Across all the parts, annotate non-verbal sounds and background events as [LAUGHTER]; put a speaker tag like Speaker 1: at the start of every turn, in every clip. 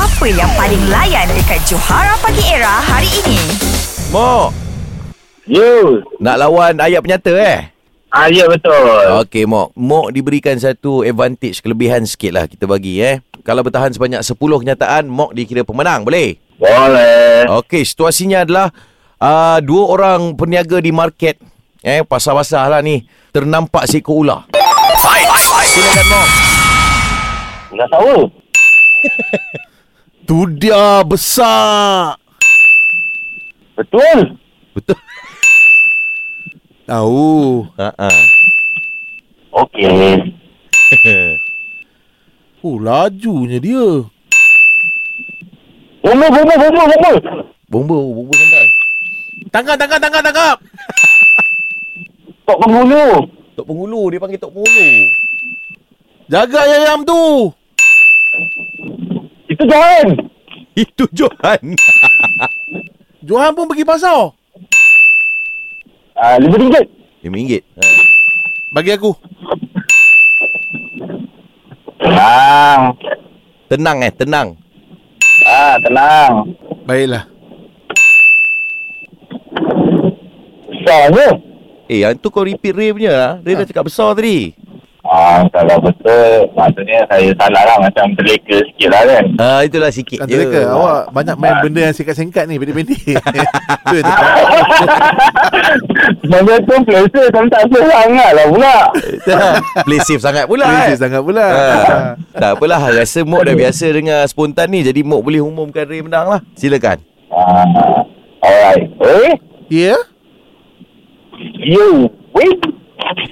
Speaker 1: Apa yang paling layan dekat Johara Pagi Era hari ini?
Speaker 2: Mok,
Speaker 3: You.
Speaker 2: nak lawan ayat penyata eh?
Speaker 3: Ah, ya betul.
Speaker 2: Okey, Mok. Mok diberikan satu advantage, kelebihan sikit lah kita bagi eh. Kalau bertahan sebanyak 10 kenyataan, Mok dikira pemenang. Boleh?
Speaker 3: Boleh.
Speaker 2: Okey, situasinya adalah uh, dua orang peniaga di market. Eh, pasar-pasar lah ni. Ternampak seekor ular. Silakan, Mok.
Speaker 3: Dah tahu.
Speaker 2: Tu dia besar.
Speaker 3: Betul.
Speaker 2: Betul?
Speaker 4: Tahu.
Speaker 2: Ha ah.
Speaker 3: Okey.
Speaker 4: Oh, lajunya dia.
Speaker 3: Bumbu, bumbu, bumbu, bumbu.
Speaker 2: Bomba, bomba santai.
Speaker 4: Tangkap, tangkap, tangkap, tangkap.
Speaker 3: Tok pembulu.
Speaker 2: Tok Pengulu, dia panggil Tok Pengulu.
Speaker 4: Jaga ayam tu.
Speaker 3: Itu Johan.
Speaker 2: [LAUGHS] Itu Johan.
Speaker 4: [LAUGHS] Johan pun pergi pasar.
Speaker 3: Ah, lima ringgit.
Speaker 2: RM5. Ha.
Speaker 4: Bagi aku.
Speaker 3: Tenang.
Speaker 2: Tenang eh, tenang.
Speaker 3: Ah, tenang.
Speaker 4: Baiklah.
Speaker 3: Besar lah, je.
Speaker 2: Eh, yang tu kau repeat Ray punya lah. Ray
Speaker 4: Ha.
Speaker 2: dah cakap besar tadi.
Speaker 3: Ah, kalau betul, maksudnya saya salah lah. Macam terleka sikit lah kan. [LAUGHS]
Speaker 2: Ah, itulah sikit Ha.
Speaker 4: Kata yeah. Kan awak banyak main benda yang singkat-singkat ni, pendek-pendek. tu yang tepat.
Speaker 3: Benda tu pleasure tapi tak selesa sangat lah pula.
Speaker 2: [LAUGHS] Play safe sangat pula
Speaker 4: Crazy
Speaker 2: eh.
Speaker 4: sangat [LAUGHS] pula.
Speaker 2: Ha. Tak apalah Rasa Mok dah biasa dengar spontan ni Jadi Mok boleh umumkan Ray menang lah Silakan
Speaker 3: Ah, alright. Eh,
Speaker 4: Ya?
Speaker 3: you win.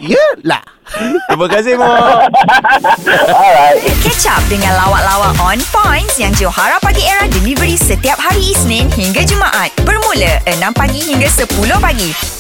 Speaker 4: Ya lah.
Speaker 2: [LAUGHS] Terima kasih Mok
Speaker 3: Alright.
Speaker 1: Catch up dengan lawak-lawak on points yang Johara Pagi Era delivery setiap hari Isnin hingga Jumaat. Bermula 6 pagi hingga 10 pagi.